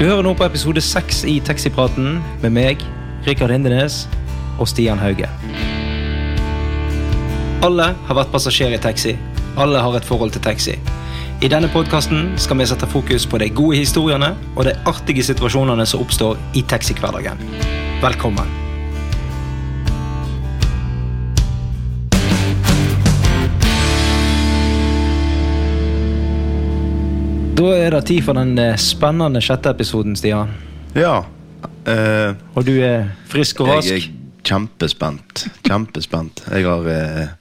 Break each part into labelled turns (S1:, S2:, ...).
S1: Du hører nå på episode seks i Taxipraten med meg, Rikard Hindenes og Stian Hauge. Alle har vært passasjer i taxi. Alle har et forhold til taxi. I denne podkasten skal vi sette fokus på de gode historiene og de artige situasjonene som oppstår i taxihverdagen. Velkommen. Da er det tid for den eh, spennende sjette episoden, Stian.
S2: Ja. eh,
S1: Og du er frisk og rask.
S2: jeg er kjempespent. Kjempespent. Jeg har eh,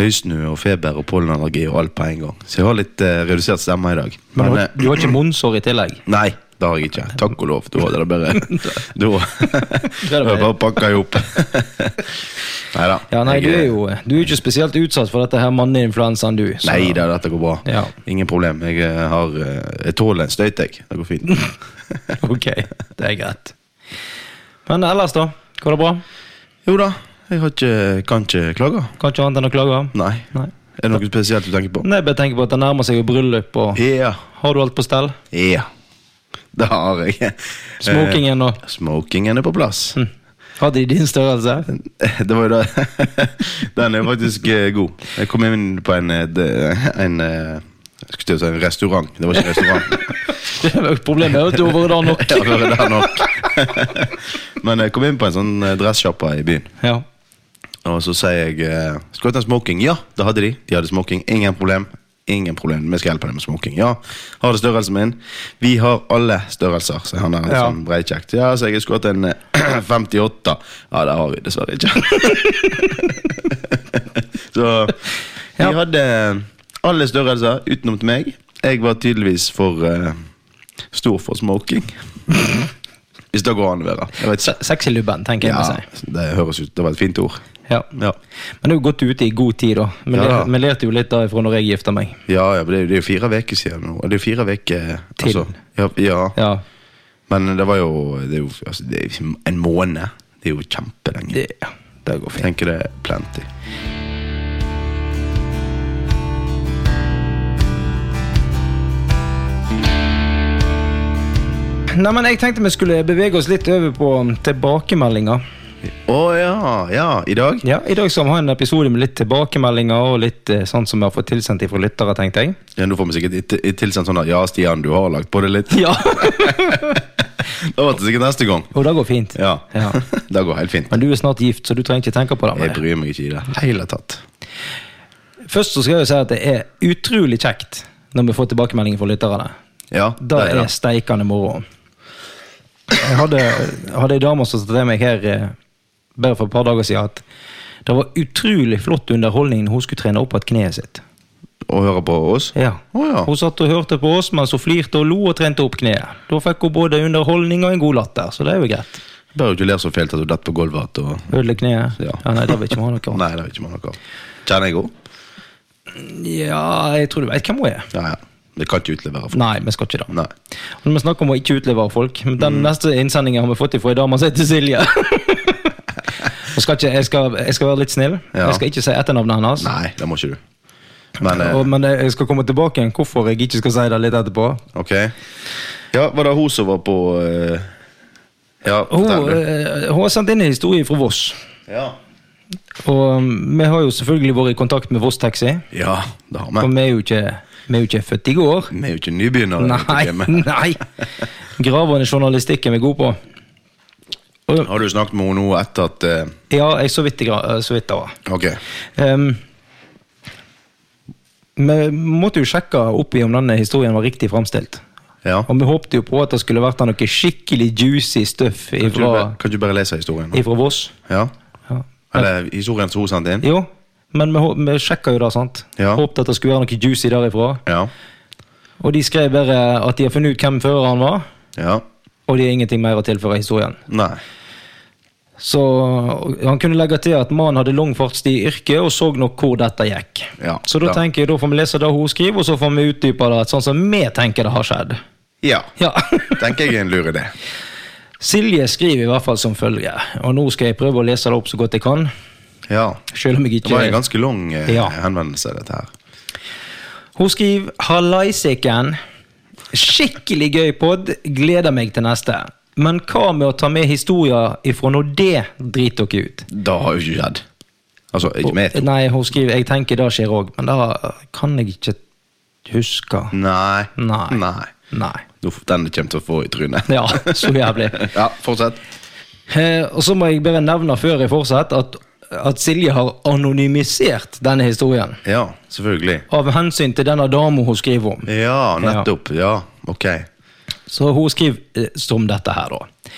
S2: høysnue og feber og pollenallergi og alt på en gang. Så jeg har litt eh, redusert stemme i dag.
S1: Men du
S2: Men,
S1: har,
S2: eh,
S1: du har ikke munnsår i tillegg.
S2: nei, det har jeg ikke. Takk og lov. Da hadde det bare Da
S1: er det
S2: da
S1: bare-
S2: bare pakka jeg opp. Nei da.
S1: Ja, nei, du er jo eh, du er jo ikke spesielt utsatt for dette her manneinfluensaen, du. så-
S2: Nei da, dette går bra.
S1: Ja.
S2: Ingen problem. Jeg, eh, har, eh, jeg tåler en støyt, jeg. Det går fint.
S1: Ok, det er greit. Men ellers, da? Går det bra?
S2: Jo da, jeg har ikke, kan ikke klage.
S1: Kan ikke annet enn å klage?
S2: Nei.
S1: Nei.
S2: Er det noe spesielt du tenker på?
S1: Nei, bare tenker på at det nærmer seg jo bryllup, og
S2: Ja.
S1: har du alt på stell?
S2: Ja, det har jeg. Eh,
S1: Smokingen og
S2: smokingen er på plass.
S1: Hm. Har de din størrelse?
S2: Det var jo det. Den er faktisk eh, god. Jeg kom inn på en, eh, de- en eh, jeg skulle til å si en restaurant. Det var ikke en restaurant.
S1: Det er jo Problemet er jo at du har vært der nok.
S2: Jeg har vært der nok. Men jeg kom inn på en sånn eh, dressjappa i byen,
S1: Ja.
S2: og så sier jeg eh, Skulle du hatt en smoking? Ja, det hadde de. De hadde smoking. Ingen problem. Ingen problem, Vi skal hjelpe deg med smoking. Ja, har du størrelsen min? Vi har alle størrelser, sier han der.
S1: Ja.
S2: Sånn breikjekt. Ja, så jeg skulle hatt en eh, 58. Ja, det har vi dessverre ikke. så vi
S1: Ja.
S2: hadde alle størrelser utenom til meg. Jeg var tydeligvis for eh, stor for smoking.
S1: Mhm.
S2: Hvis det går an å være. Jeg vet
S1: Se-
S2: ikke.
S1: Sexy lubben, tenker jeg
S2: Ja,
S1: må si.
S2: det høres ut Det var et fint ord.
S1: Ja.
S2: Ja,
S1: Men du er jo godt ute i god tid, da. Vi
S2: Ja, da.
S1: ler- vi lærte jo litt da ifra når jeg gifta meg.
S2: ja, ja men det, er jo- det er jo fire uker siden nå. Det er jo fire uker eh, altså,
S1: Til.
S2: ja, ja.
S1: Ja.
S2: Men det var jo Det er jo altså, det er jo en måned. Det er jo kjempelenge.
S1: Det, det går fint.
S2: Tenker det er plenty.
S1: Nei, men jeg tenkte vi skulle bevege oss litt over på um, tilbakemeldinger.
S2: Å ja, ja. I dag?
S1: Ja, I dag skal vi ha en episode med litt tilbakemeldinger og litt eh, sånn som vi har fått tilsendt fra lyttere, tenkte jeg.
S2: Ja, Nå får vi sikkert i- i- tilsendt sånn at Ja, Stian, du har lagt på det litt.
S1: Ja.
S2: Da var det sikkert neste gang.
S1: Og det går fint.
S2: Ja.
S1: Ja.
S2: det går helt fint.
S1: Men du er snart gift, så du trenger ikke tenke på det.
S2: Jeg
S1: Med det.
S2: bryr meg ikke i det hele tatt.
S1: Først så skal jeg jo si at det er utrolig kjekt når vi får tilbakemeldinger fra lytterne.
S2: Ja,
S1: Da er det steikende moro. Jeg hadde, hadde ei dame som sa til meg her eh, bare for et par dager siden at det var utrolig flott underholdning når hun skulle trene opp igjen kneet sitt.
S2: Å høre på oss?
S1: Ja.
S2: Å ja.
S1: Hun satt og hørte på oss mens hun flirte og lo og trente opp kneet. Da fikk hun både underholdning og en god latter, så det er jo greit.
S2: Bør jo ikke le så fælt at du detter på gulvet. Og...
S1: Ødelegge kneet?
S2: Ja.
S1: Nei, det vil ikke vi ha noe av.
S2: Nei, det er ikke man noe av. Kjenner jeg henne?
S1: Ja, jeg tror du vet hvem hun er.
S2: Ja, ja. Det kan ikke utlevere. For...
S1: Nei, vi skal ikke det.
S2: Nei.
S1: Og Når vi snakker om å ikke utlevere folk men
S2: Mm.
S1: Den neste innsendingen har vi fått ifra ei dame som heter Silje. Jeg skal, ikke, jeg, skal, jeg skal være litt snill.
S2: Ja.
S1: Jeg skal ikke si etternavnet hennes.
S2: Nei, det må ikke du. Men eh,
S1: Og, men jeg skal komme tilbake igjen hvorfor jeg ikke skal si det litt etterpå.
S2: ok. Ja, var det hun som var på eh, Ja,
S1: Hun,
S2: fortell du.
S1: eh, hun har sendt inn en historie fra Voss.
S2: Ja.
S1: Og um, vi har jo selvfølgelig vært i kontakt med Voss Taxi.
S2: ja, det har
S1: For
S2: vi.
S1: vi er jo ikke, vi er jo ikke født i går.
S2: Vi er jo ikke nybegynnere. i dette
S1: Nei,
S2: gamet.
S1: nei. Gravende journalistikk er vi gode på. Og,
S2: Har du snakket med henne nå etter at eh,
S1: ja, jeg så vidt, jeg gra- eh, så vidt det var.
S2: Ok.
S1: Ehm, vi måtte jo sjekke opp i om denne historien var riktig framstilt.
S2: Ja.
S1: Og vi håpte jo på at det skulle vært noe skikkelig juicy stuff
S2: Kan ikke du, bare-
S1: ifra,
S2: kan ikke du bare lese historien? nå?
S1: ifra Voss.
S2: Ja.
S1: Ja.
S2: Eller historien som hun sendte inn?
S1: Jo, men vi, hå- vi sjekka jo det, sant?
S2: Ja.
S1: Håpte at det skulle være noe juicy derifra.
S2: Ja.
S1: Og de skrev bare at de har funnet ut hvem føreren var,
S2: Ja.
S1: og de har ingenting mer å tilføre historien.
S2: Nei.
S1: Så han kunne legge til at mannen hadde lang fartstid i yrket, og så nok hvor dette gikk.
S2: Ja,
S1: så da
S2: ja.
S1: tenker jeg, da får vi lese det hun skriver, og så får vi utdype det sånn som vi tenker det har skjedd.
S2: Ja.
S1: Ja.
S2: Tenker jeg er en lur idé.
S1: Silje skriver i hvert fall som følger, og nå skal jeg prøve å lese det opp så godt jeg kan.
S2: Ja.
S1: Selv om jeg
S2: Det var en
S1: ikke
S2: ganske lang eh,
S1: Ja.
S2: henvendelse, dette her.
S1: Hun skriver 'Hallaisiken'. Skikkelig gøy pod. Gleder meg til neste. Men hva med å ta med historier ifra når det driter dere ut?
S2: Det har jo ikke skjedd. Altså, ikke med.
S1: Nei, hun skriver Jeg tenker det skjer òg, men det kan jeg ikke huske.
S2: Nei.
S1: Nei.
S2: Nei.
S1: Nei.
S2: Nå f- Den kommer til å få i trynet.
S1: Ja, så jævlig.
S2: Ja, fortsett.
S1: Eh, og så må jeg bare nevne før jeg fortsetter, at, at Silje har anonymisert denne historien.
S2: Ja, selvfølgelig.
S1: Av hensyn til denne dama hun skriver om.
S2: Ja, nettopp. Ja, ok.
S1: Så hun skriver eh, som dette her, da.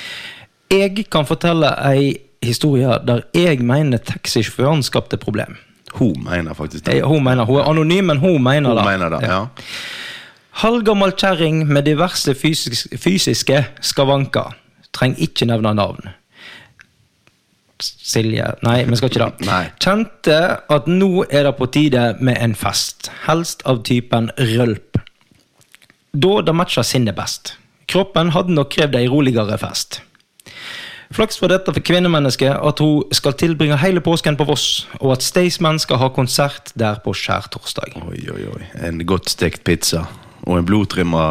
S1: Jeg kan fortelle ei historie der jeg mener taxisjåføren skapte problem.
S2: Hun mener faktisk
S1: Eh,
S2: det.
S1: Hun mener, hun er anonym, men hun mener
S2: Hun
S1: det.
S2: mener det, ja.
S1: Halvgammal kjerring med diverse fysis fysiske skavanker. Trenger ikke nevne navn. Silje Nei, vi skal ikke det.
S2: Nei.
S1: Kjente at nå er det på tide med en fest. Helst av typen rølp. Da det matcha sinnet best. Kroppen hadde nok krevd ei roligere fest. Flaks for dette for kvinnemennesket at hun skal tilbringe hele påsken på Voss, og at Staysman skal ha konsert der på skjærtorsdag.
S2: Oi, oi, oi. En godt stekt pizza. Og en blodtrimma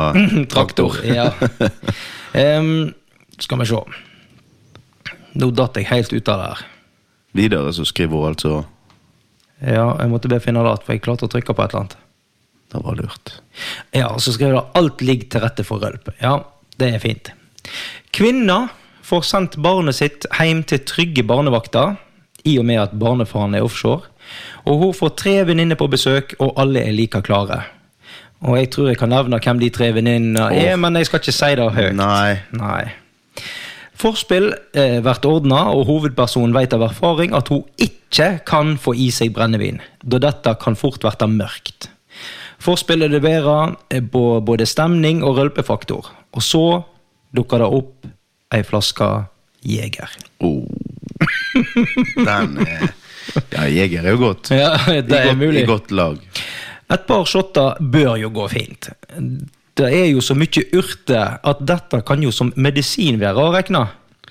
S2: traktor.
S1: Ja. Em, skal vi se. Nå datt jeg helt ut av det her.
S2: Videre så skriver hun altså
S1: Ja, jeg måtte bare finne det igjen, for jeg klarte å trykke på et eller annet.
S2: Det var lurt.
S1: Ja, og så skrev det 'alt ligger til rette for rølp'. Ja, det er fint. Kvinna får sendt barnet sitt hjem til trygge barnevakter, i og med at barnefaren er offshore. Og hun får tre venninner på besøk, og alle er like klare. Og jeg tror jeg kan nevne hvem de tre venninnene er,
S2: Åh.
S1: men jeg skal ikke si det høyt.
S2: Nei.
S1: Nei. Forspill eh, blir ordna, og hovedpersonen vet av erfaring at hun ikke kan få i seg brennevin, da dette kan fort bli mørkt. Forspillet leverer eh, på både stemning og rølpefaktor, og så dukker det opp ei flaske Jeger.
S2: Oh. Den eh, Ja, jeger er jo godt.
S1: Ja, det
S2: I
S1: er
S2: godt,
S1: mulig.
S2: I godt lag.
S1: Et par shotter bør jo gå fint. Det er jo så mye urter at dette kan jo som medisin være å regne,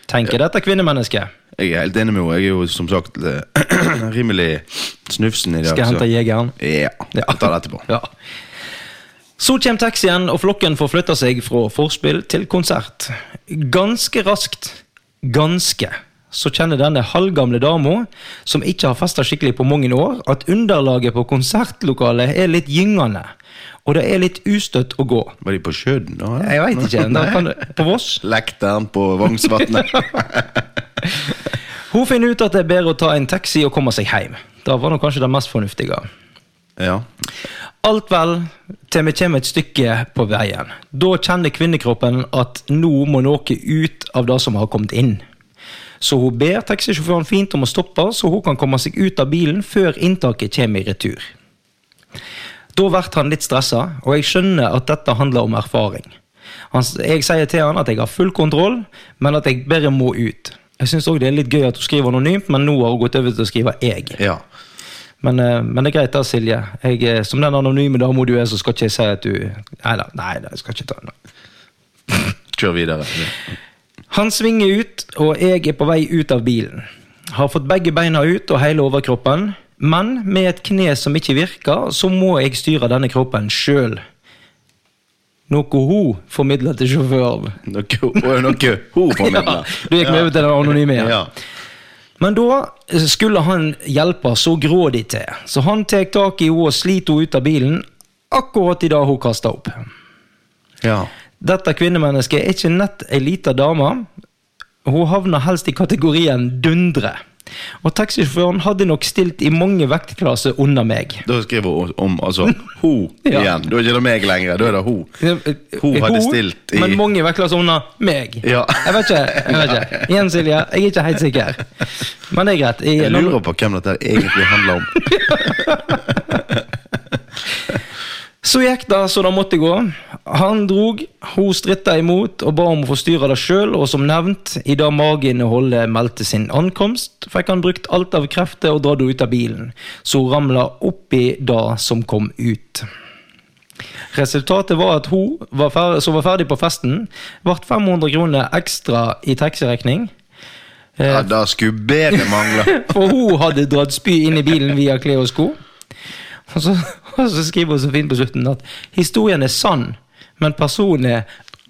S1: tenker dette kvinnemennesket.
S2: Jeg er helt enig med henne. Jeg er jo som sagt eh, rimelig snufsen i dag.
S1: Skal jeg
S2: så-
S1: hente Jegeren?
S2: Ja.
S1: Ja.
S2: Jeg tar det etterpå.
S1: Ja. Så kommer taxien, og flokken får flytta seg fra vorspiel til konsert. Ganske raskt, ganske, så kjenner denne halvgamle dama, som ikke har festa skikkelig på mange år, at underlaget på konsertlokalet er litt gyngende. Og det er litt ustøtt å gå.
S2: Var de på sjøen da?
S1: Jeg veit ikke. Da
S2: Nei.
S1: kan, på Voss?
S2: Lekteren på Vognsvatnet.
S1: Hun finner ut at det er bedre å ta en taxi og komme seg hjem. Det var nå kanskje det mest fornuftige.
S2: ja.
S1: Alt vel til vi kommer et stykke på veien. Da kjenner kvinnekroppen at nå må noe ut av det som har kommet inn. Så hun ber taxisjåføren fint om å stoppe, så hun kan komme seg ut av bilen før inntaket kommer i retur. Da blir han litt stressa, og jeg skjønner at dette handler om erfaring. Han, s- jeg sier til han at jeg har full kontroll, men at jeg bare må ut. Jeg syns òg det er litt gøy at hun skriver anonymt, men nå har hun gått over til å skrive 'jeg'.
S2: ja.
S1: Men, eh, men det er greit da, Silje. Jeg, eh, som den anonyme dama du er, så skal ikke jeg si at du Nei da, nei da, jeg skal ikke ta den.
S2: Kjør videre.
S1: Han svinger ut, og jeg er på vei ut av bilen. Har fått begge beina ut og hele overkroppen, men med et kne som ikke virker, så må jeg styre denne kroppen sjøl. Noe hun formidler til sjåføren.
S2: Noe, og noe hun
S1: Ja,
S2: formidler.
S1: du gikk med over til den anonyme igjen.
S2: Ja.
S1: Men da eh, skulle han hjelpe så grådig til, så han tar tak i henne og sliter henne ut av bilen akkurat idet hun kaster opp.
S2: ja.
S1: Dette kvinnemennesket er ikke nett ei lita dame. Hun havner helst i kategorien dundre. Og taxisjåføren hadde nok stilt i mange vektklasser under meg.
S2: Da skriver hun om altså hun
S1: Ja.
S2: igjen. Da er ikke det meg lenger, da er det hun. Hun hadde stilt i
S1: Men mange vektklasser under meg.
S2: Ja.
S1: Jeg vet ikke. jeg vet ikke. Igjen, Silje, jeg er ikke helt sikker. Men det er greit.
S2: Jeg lurer på hvem dette her egentlig handler om.
S1: Så gikk det så det måtte gå. Han drog, hun stritta imot og ba om å få styre det sjøl, og som nevnt, idet mageinnholdet meldte sin ankomst, fikk han brukt alt av krefter og dratt henne ut av bilen, så hun ramla oppi det som kom ut. Resultatet var at hun, var fer- som var ferdig på festen, ble 500 kroner ekstra i taxiregning,
S2: Ja, da skulle bedre mangle.
S1: for hun hadde dratt spy inn i bilen via klær og sko. Og så, og så skriver hun så fint på slutten at historien er sann, men personen er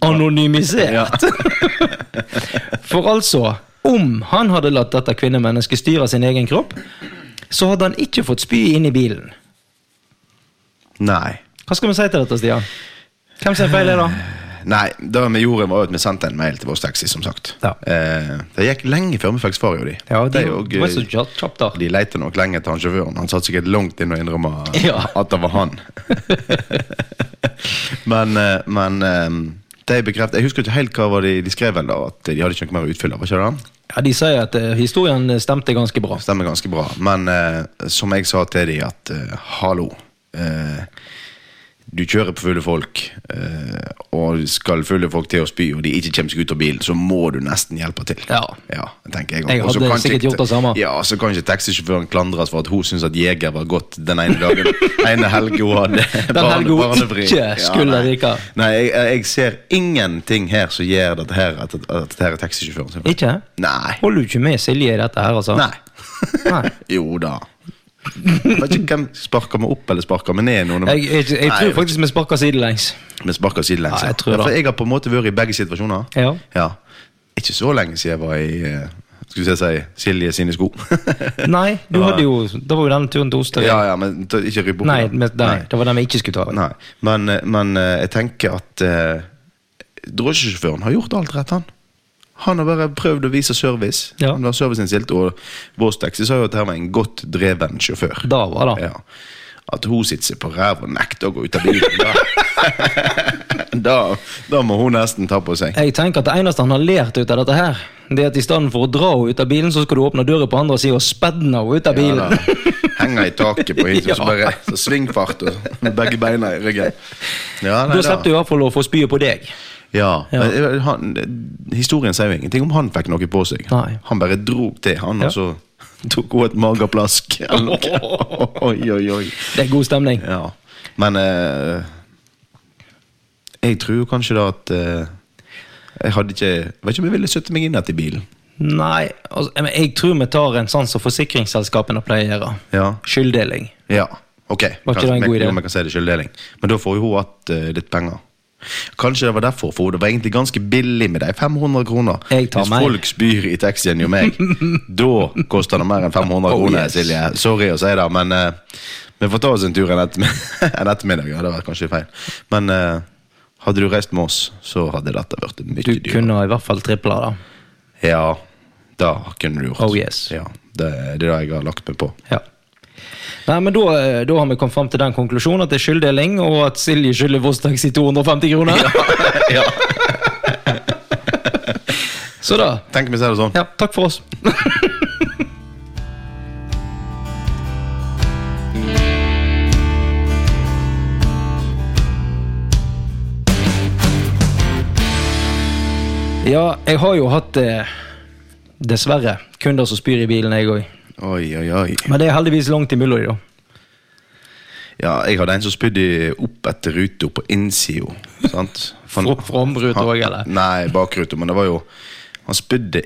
S1: anonymisert.
S2: Ja.
S1: For altså, om han hadde latt dette kvinnemennesket styre sin egen kropp, så hadde han ikke fått spy inn i bilen.
S2: Nei.
S1: Hva skal vi si til dette, Stian? Hvem sin feil er det?
S2: Nei, det vi gjorde var jo at vi sendte en mail til Voss Taxi, som sagt.
S1: Ja.
S2: Eh, det gikk lenge før vi fikk svar av de.
S1: Ja,
S2: Det
S1: de
S2: er jo eh, gøy.
S1: var så kjapt- kjapt der.
S2: De leite nok lenge etter han sjåføren. Han satt sikkert langt inn og innrømma
S1: Ja.
S2: at det var han. men eh, men eh, de bekreftet Jeg husker ikke helt hva var de, de skrev vel da, at de hadde ikke noe mer utfyller. var ikke det det?
S1: Ja, De sier at eh, historien stemte ganske bra.
S2: Stemmer ganske bra. Men eh, som jeg sa til de at eh, hallo. Eh, du kjører på fulle folk, eh, og skal fulle folk til å spy, og de ikke kommer seg ut av bilen, så må du nesten hjelpe til.
S1: Ja.
S2: tenker jeg.
S1: Jeg
S2: Og så
S1: hadde
S2: kan
S1: sikkert
S2: ikke-
S1: gjort det samme.
S2: Ja, Så kan ikke taxisjåføren klandres for at hun syns at Jeger var godt den ene dagen. ene helgen hun hadde
S1: Den helgen hun
S2: barne- barnefri.
S1: ikke skulle
S2: nei.
S1: ryke.
S2: Nei, jeg, jeg ser ingenting her som gjør dette her at, at, at dette her er taxisjåføren sin. feil.
S1: Ikke?
S2: Nei.
S1: Holder du ikke med Silje i dette her, altså?
S2: Nei.
S1: Nei.
S2: jo da. Jeg vet ikke hvem sparker meg opp eller sparker meg ned. Noen.
S1: Jeg, jeg, jeg
S2: Nei,
S1: tror
S2: vet
S1: faktisk vi sparker sidelengs.
S2: ikke. Vi sparker sidelengs.
S1: Ja, jeg tror det.
S2: for jeg har på en måte vært i begge situasjoner.
S1: Ja.
S2: Ikke så lenge siden jeg var i eh, Skal vi si Silje sine sko.
S1: Nei, du
S2: Ja.
S1: hadde jo Da var jo den turen til Osterøy.
S2: ja, ja, men ta- ikke rypp opp.
S1: Nei,
S2: i den.
S1: men- nei, det var den vi ikke skulle ta.
S2: Nei. Men, eh, men eh, jeg tenker at eh, drosjesjåføren har gjort alt rett, han. Han har bare prøvd å vise service.
S1: Ja.
S2: Han var serviceinnstilt, og Vårs Taxi sa jo at her var en godt dreven sjåfør.
S1: Da var det.
S2: Ja. At hun sitter seg på ræv og nekter å gå ut av bilen. Da, da, da må hun nesten ta på seg.
S1: Jeg tenker at Det eneste han har lært ut av dette, her Det er at i stedet for å dra henne ut av bilen, så skal du åpne døra på andre siden og spedne henne ut av bilen.
S2: Ja, da. Henger i taket på hit, og
S1: Ja.
S2: så bare så svingfart og med begge beina i ryggen. Ja, nei,
S1: da slipper du i hvert fall å få spyet på deg.
S2: Ja,
S1: Ja.
S2: eh, Han, Historien sier jo ingenting om han fikk noe på seg.
S1: Nei.
S2: Han bare dro til, han,
S1: Ja.
S2: og så tok hun et mageplask. eller noe. Oi, oi, oi.
S1: Det er god stemning.
S2: Ja. Men eh, jeg tror jo kanskje da at eh, Jeg hadde ikke jeg Vet ikke om jeg ville sette meg inn igjen i bilen.
S1: Nei, altså, jeg, men jeg tror vi tar en sånn som forsikringsselskapene pleier å gjøre.
S2: Ja.
S1: Skylddeling.
S2: ja. Ok.
S1: Var ikke det en god idé?
S2: Om jeg kan si det skylddeling. Men da får jo hun hatt eh, litt penger. Kanskje det var derfor, for det var egentlig ganske billig med de 500 kroner.
S1: Jeg tar
S2: Hvis
S1: meg.
S2: folk spyr i taxien jo meg, da koster det mer enn 500
S1: Oh,
S2: kroner,
S1: yes.
S2: Silje. Sorry å si det, men eh, vi får ta oss en tur en, ettermiddag- en ettermiddag. Ja, det var kanskje feil. Men eh, hadde du reist med oss, så hadde dette blitt mye
S1: Du
S2: dyrere.
S1: kunne i hvert fall tripla det.
S2: Ja, da kunne du gjort.
S1: Oh, yes.
S2: Ja, det, det er det jeg har lagt meg på.
S1: Ja. Nei, men da, eh, da har vi kommet fram til den konklusjonen at det er skylddeling, og at Silje skylder Voss Taxi 250 kroner.
S2: ja.
S1: Så da.
S2: Tenk om vi sier det sånn.
S1: Ja, takk for oss. ja, jeg har jo hatt eh, Dessverre. Kunder som spyr i bilen, jeg òg.
S2: Oi, oi, oi.
S1: Men det er heldigvis langt imellom de, da.
S2: Ja, jeg hadde en som spydde opp etter ruta på innsida. Sant? Han-
S1: Fra- Framruta
S2: han-
S1: også, eller?
S2: Nei, bakruta. Men det var jo Han spydde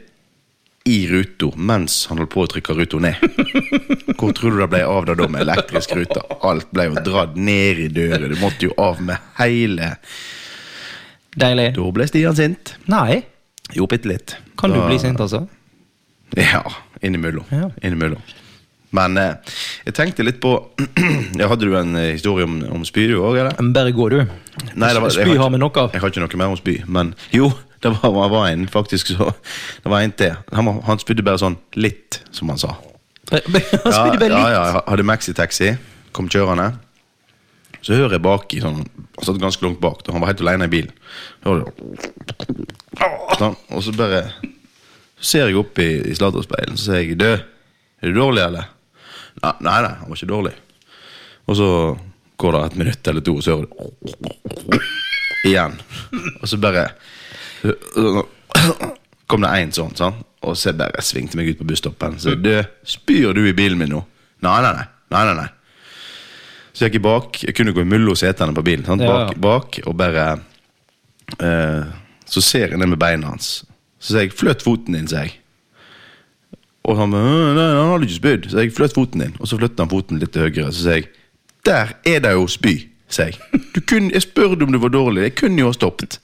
S2: i ruta mens han holdt på å trykke ruta ned. Hvor tror du det ble av det da med elektrisk rute? Alt ble jo dratt ned i døra. Du måtte jo av med hele
S1: Deilig.
S2: Da ble Stian sint.
S1: Nei.
S2: Jo, bitte litt.
S1: Kan du
S2: Da-
S1: bli sint, altså?
S2: Ja, innimellom.
S1: Ja.
S2: innimellom. Men eh, jeg tenkte litt på ja, Hadde du en eh, historie om, om spy, du òg, eller?
S1: Men Bare gå, du.
S2: Nei, det var- jeg
S1: Spy
S2: har
S1: har
S2: ikke-
S1: vi nok av.
S2: Jeg har ikke noe mer om spy, men jo, det var, det var en faktisk så Det var en til. Han, var- han spydde bare sånn litt, som han sa.
S1: Han spydde bare
S2: ja,
S1: litt.
S2: ja, jeg hadde maxitaxi, kom kjørende. Så hører jeg baki sånn, Han satt ganske langt bak, og han var helt alene i bilen. Hører du? Sånn, og så bare Så ser jeg opp i, i sladderspeilet, så sier jeg Død, er du dårlig, eller? Nei, nei, nei, han var ikke dårlig. Og så går det et minutt eller to, og så hører du igjen. Og så bare Kom det en sånn, sånn og så bare svingte meg ut på busstoppen. Så jeg, du, spyr du i bilen min nå? Nei, nei, nei. nei, nei, nei. Så jeg gikk jeg bak. Jeg kunne gå imellom setene på bilen. Sant?
S1: Ja,
S2: Bak,
S1: ja.
S2: bak og bare eh, Så ser jeg ned med beina hans. Så sier jeg 'flytt foten din', sier jeg. Og han bare, «Øh, nei, han hadde ikke spydd, så jeg fløt foten din. Og så flyttet han foten litt til høyre, så sier jeg, der er det jo spy. seg. Du kunne, jeg spurte om du var dårlig. Jeg kunne jo ha stoppet.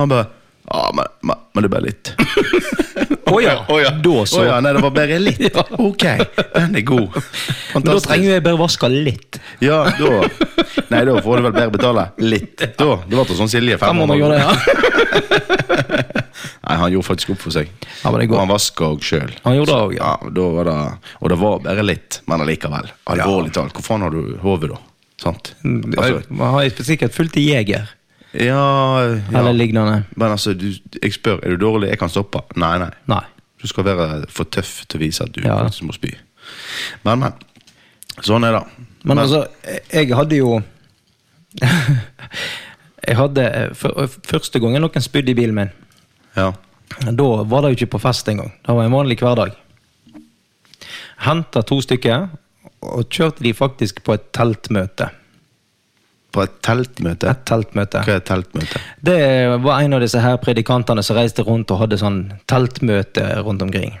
S2: Han bare Ja, men, men, men det er bare litt.
S1: Å ja. Da så.
S2: Å ja, nei, det var bare litt. Ok, den er god.
S1: Men da trenger jo jeg bare vaske litt.
S2: Ja, da Nei, da får du vel bedre betale. Litt. Da, Det ble sånn Silje.
S1: Da må man gjøre det, ja.
S2: Nei, han gjorde faktisk opp for seg.
S1: Ja, men det er
S2: og
S1: godt.
S2: han vaska òg sjøl.
S1: Han gjorde det også, ja.
S2: Ja, og da var det, og det var bare litt, men allikevel. Alvorlig talt. Hvor faen har du hodet, da? Sant?
S1: Mm,
S2: Altså,
S1: Man har sikkert fulgt i jeger
S2: ja, ja.
S1: eller lignende.
S2: Men altså, du, jeg spør, er du dårlig? Jeg kan stoppe. Nei, nei.
S1: Nei.
S2: Du skal være for tøff til å vise at du
S1: Ja.
S2: faktisk må spy. Men, men. Sånn er det.
S1: Men altså, jeg jeg hadde jo Jeg hadde eh, for- Første gangen noen spydde i bilen min,
S2: Ja.
S1: da var det jo ikke på fest engang. Det var en vanlig hverdag. Henta to stykker, og kjørte de faktisk på et teltmøte.
S2: På et teltmøte.
S1: Et teltmøte.
S2: Hva er et teltmøte?
S1: Det var en av disse her predikantene som reiste rundt og hadde sånn teltmøte rundt omkring.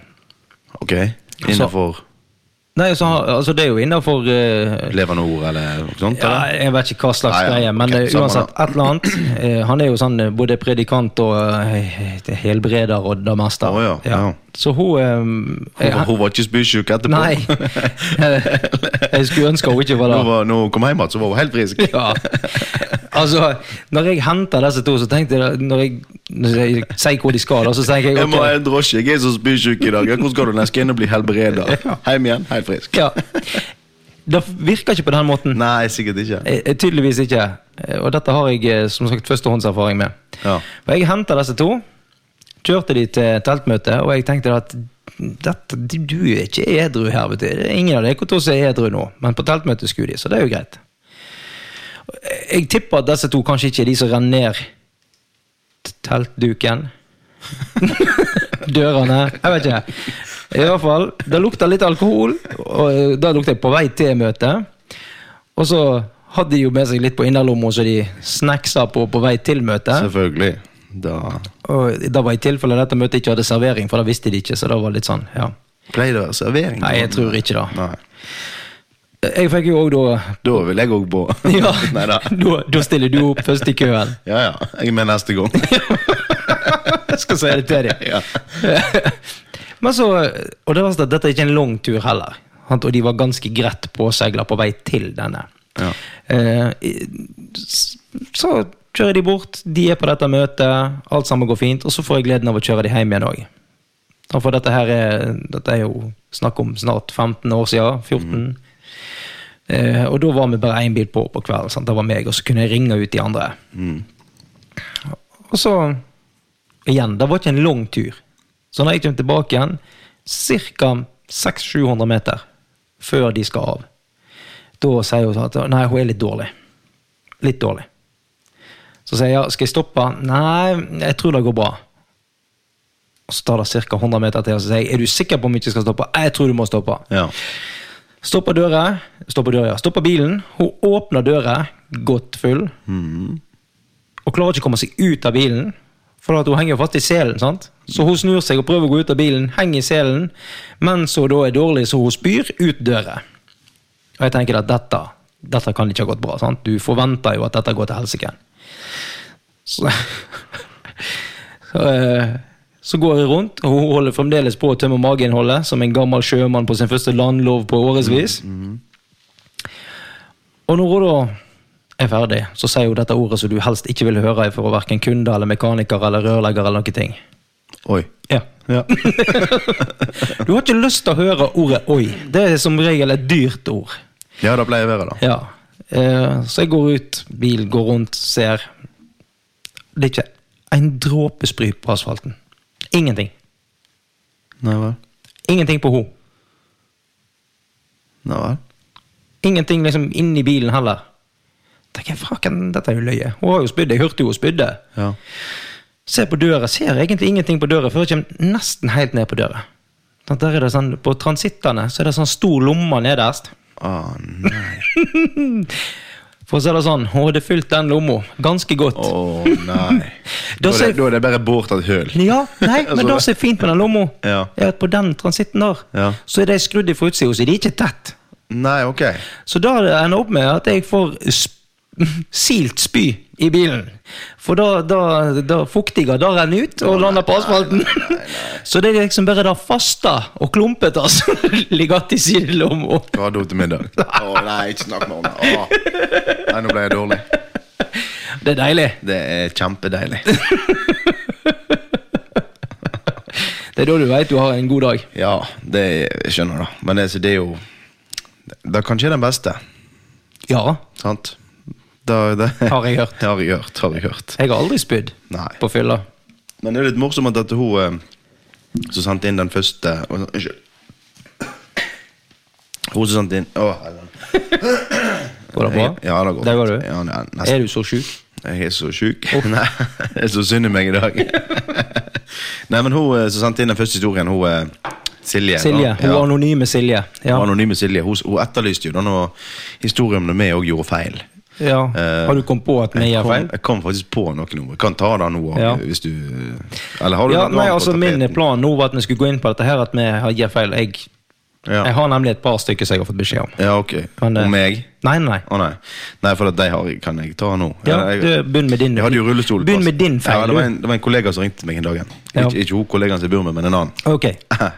S2: Ok.
S1: Altså-
S2: Innenfor
S1: Nei, så, har- altså Det er jo innafor
S2: levende ord eller noe sånt?
S1: ja,
S2: Eller?
S1: Jeg vet ikke hva slags
S2: Nei, ja,
S1: greie, men
S2: ok,
S1: eh,
S2: samme
S1: uansett, et eller annet. Eh, han er jo sånn eh, både predikant og eh, helbreder og det meste.
S2: Å ja, ja.
S1: Så hun eh,
S2: Hun, var-
S1: eh,
S2: hun var ikke spysjuk etterpå.
S1: Nei. jeg skulle ønske hun ikke var
S2: Nå
S1: der.
S2: var, når hun kom hjem igjen, så var hun helt frisk.
S1: Ja. Altså, når jeg henter disse to, så tenkte jeg Når jeg, når jeg sier hvor de skal, da, så tenker jeg
S2: Jeg må
S1: ok,
S2: ha en drosje, jeg er så spysjuk i dag. Ja, Hvordan skal du nesten inn og bli helbreda? Hjem igjen, helt frisk.
S1: Ja. Det virker ikke på den måten.
S2: Nei, sikkert ikke.
S1: Eh, eh, Tydeligvis ikke. Eh, Og dette har jeg eh, som sagt førstehåndserfaring med.
S2: Ja.
S1: For Jeg henta disse to, kjørte de til teltmøte, og jeg tenkte at dette, du er ikke edru her. vet du. Det er Ingen av dere to som er edru nå, men på teltmøte skulle de, så det er jo greit. Jeg tipper at disse to kanskje ikke er de som renner ned t- teltduken. Dørene. Jeg vet ikke. I hvert fall, det lukta litt alkohol, og eh, da lukta jeg på vei til møtet. Og så hadde de jo med seg litt på innerlomma, så de snacksa på på vei til møtet.
S2: Selvfølgelig. Da
S1: Og da var i tilfelle dette møtet ikke hadde servering, for da visste de ikke. så da var det litt sånn, ja.
S2: pleier det å være servering.
S1: Nei, jeg tror ikke det.
S2: Nei.
S1: Jeg fikk jo òg da
S2: Da vil jeg òg på.
S1: ja,
S2: Nei da.
S1: da, da stiller du opp først i køen.
S2: Ja ja, jeg er med neste gang.
S1: Jeg skal si det til dem.
S2: Ja.
S1: Men så, og det verste er at dette er ikke en lang tur heller. Sant? Og de var ganske greit påsegla på vei til denne.
S2: Ja.
S1: Eh, i- s- så kjører de bort, de er på dette møtet, alt sammen går fint, og så får jeg gleden av å kjøre de hjem igjen òg. For dette her er, dette er jo snakk om snart 15 år siden. 14. Eh, og da var vi bare én bil på på kvelden. Sant? Det var meg, og så kunne jeg ringe ut de andre. Og så Igjen, det var ikke en lang tur. Så når jeg kom tilbake igjen, ca. 600-700 meter før de skal av, da sier hun sånn at nei, hun er litt dårlig. Litt dårlig. Så sier jeg ja, skal jeg stoppe? Nei, jeg tror det går bra. Og så tar det ca. 100 meter til, og så sier jeg er du sikker på om jeg ikke skal stoppe? Jeg tror du må stoppe.
S2: ja.
S1: Stopper døra, stopper døra, ja. Stopper bilen. Hun åpner døra, godt full. Og klarer ikke å komme seg ut av bilen, for at hun henger jo fast i selen. sant? Så hun snur seg og prøver å gå ut av bilen, henger i selen, mens hun da er dårlig, så hun spyr ut døra. Og jeg tenker at dette, dette kan ikke ha gått bra. sant? Du forventer jo at dette går til helsike. Så, så, eh, så går jeg rundt, og hun holder fremdeles på å tømme mageinnholdet som en gammel sjømann på sin første landlov på årevis. Og når hun da er ferdig, så sier hun dette ordet som du helst ikke vil høre fra hverken kunde eller mekaniker eller rørlegger eller noen ting.
S2: Oi.
S1: Ja.
S2: Ja.
S1: Du har ikke lyst til å høre ordet 'oi'. Det er som regel et dyrt ord.
S2: ja, det pleier å være det.
S1: Ja. Eh, så jeg går ut, bil går rundt, ser. Det er ikke en dråpe spry på asfalten. Ingenting.
S2: Nei vel.
S1: Ingenting på henne.
S2: Nei vel.
S1: Ingenting liksom inni bilen heller. Tenker jeg, Fraken, dette er jo løye. Hun har jo spydd. Jeg hørte jo hun spydde.
S2: Ja.
S1: Ser på døra, ser egentlig ingenting på døra før jeg kommer nesten helt ned på døra. Sånn, Der er det sånn, På transittene så er det sånn stor lomme nederst.
S2: Å nei.
S1: For å si det sånn, hun hadde fylt den lomma ganske godt.
S2: Å nei.
S1: Da
S2: Da er det,
S1: ser-
S2: da er det bare bort til et høl.
S1: Ja, nei, men
S2: Altså-
S1: det som er fint med den lomma,
S2: Ja.
S1: er at på den transitten der,
S2: Ja.
S1: så er de skrudd i forutsida, så de er ikke tett.
S2: Nei, ok.
S1: Så da det ender opp med at jeg får sp- silt spy i bilen. For da, da, da fuktiga da renner ut og lander på asfalten. Så det er liksom bare det faste og klumpete som ligger igjen i sidelomma.
S2: Hva hadde hun til middag? Å nei, ikke snakk med henne. Åh. Nei, nå ble jeg dårlig.
S1: Det er deilig.
S2: Det er kjempedeilig.
S1: Det er da du veit du har en god dag.
S2: Ja, det jeg skjønner jeg, da. Men det, så det er jo Det er kanskje den beste,
S1: Ja,
S2: sant? Da, det,
S1: Har jeg hørt.
S2: Har jeg hørt, har jeg hørt.
S1: jeg har aldri spydd
S2: Nei.
S1: på fylla.
S2: Men det er litt morsomt at hun eh, som sendte inn den første og- Unnskyld. Hun som sendte inn Å, helvete.
S1: Går det bra?
S2: Jeg- Ja, det går
S1: Der var
S2: fint.
S1: du.
S2: Ja, ne- nesten.
S1: Er du så sjuk?
S2: Jeg er så sjuk. Nei, jeg er så synd i meg i dag. Nei, men hun eh, som sendte inn den første historien, hun eh, Silje.
S1: Silje.
S2: da-
S1: Hun
S2: ja.
S1: anonyme Silje. Ja.
S2: Hun anonyme Silje. Hun, hun etterlyste jo da noe historie om når vi òg gjorde feil.
S1: ja.
S2: Eh,
S1: Har du kommet på at vi
S2: Jeg
S1: gjør
S2: kom,
S1: feil?
S2: jeg kom faktisk på noe nå. Jeg kan ta det nå òg,
S1: Ja.
S2: hvis du Eller har du
S1: Ja,
S2: noe
S1: nei,
S2: annet på
S1: altså Min
S2: tapeten?
S1: plan nå var at vi skulle gå inn på dette her, at vi har- gir feil. Jeg,
S2: Ja.
S1: jeg har eh, nemlig et par stykker som jeg har fått beskjed om.
S2: ja, ok.
S1: Kan det-
S2: Og meg?
S1: Nei, nei.
S2: Å nei. Nei, for at de har, kan jeg ta nå.
S1: Ja,
S2: jeg,
S1: du, begynn med din.
S2: jeg hadde jo rullestol.
S1: Begynn
S2: fast.
S1: med din feil,
S2: Ja, det, var
S1: du.
S2: en, det var en kollega som ringte meg en dag.
S1: Ja.
S2: Ikke, ikke hun kollegaen som jeg bor med, men en annen.
S1: Ok.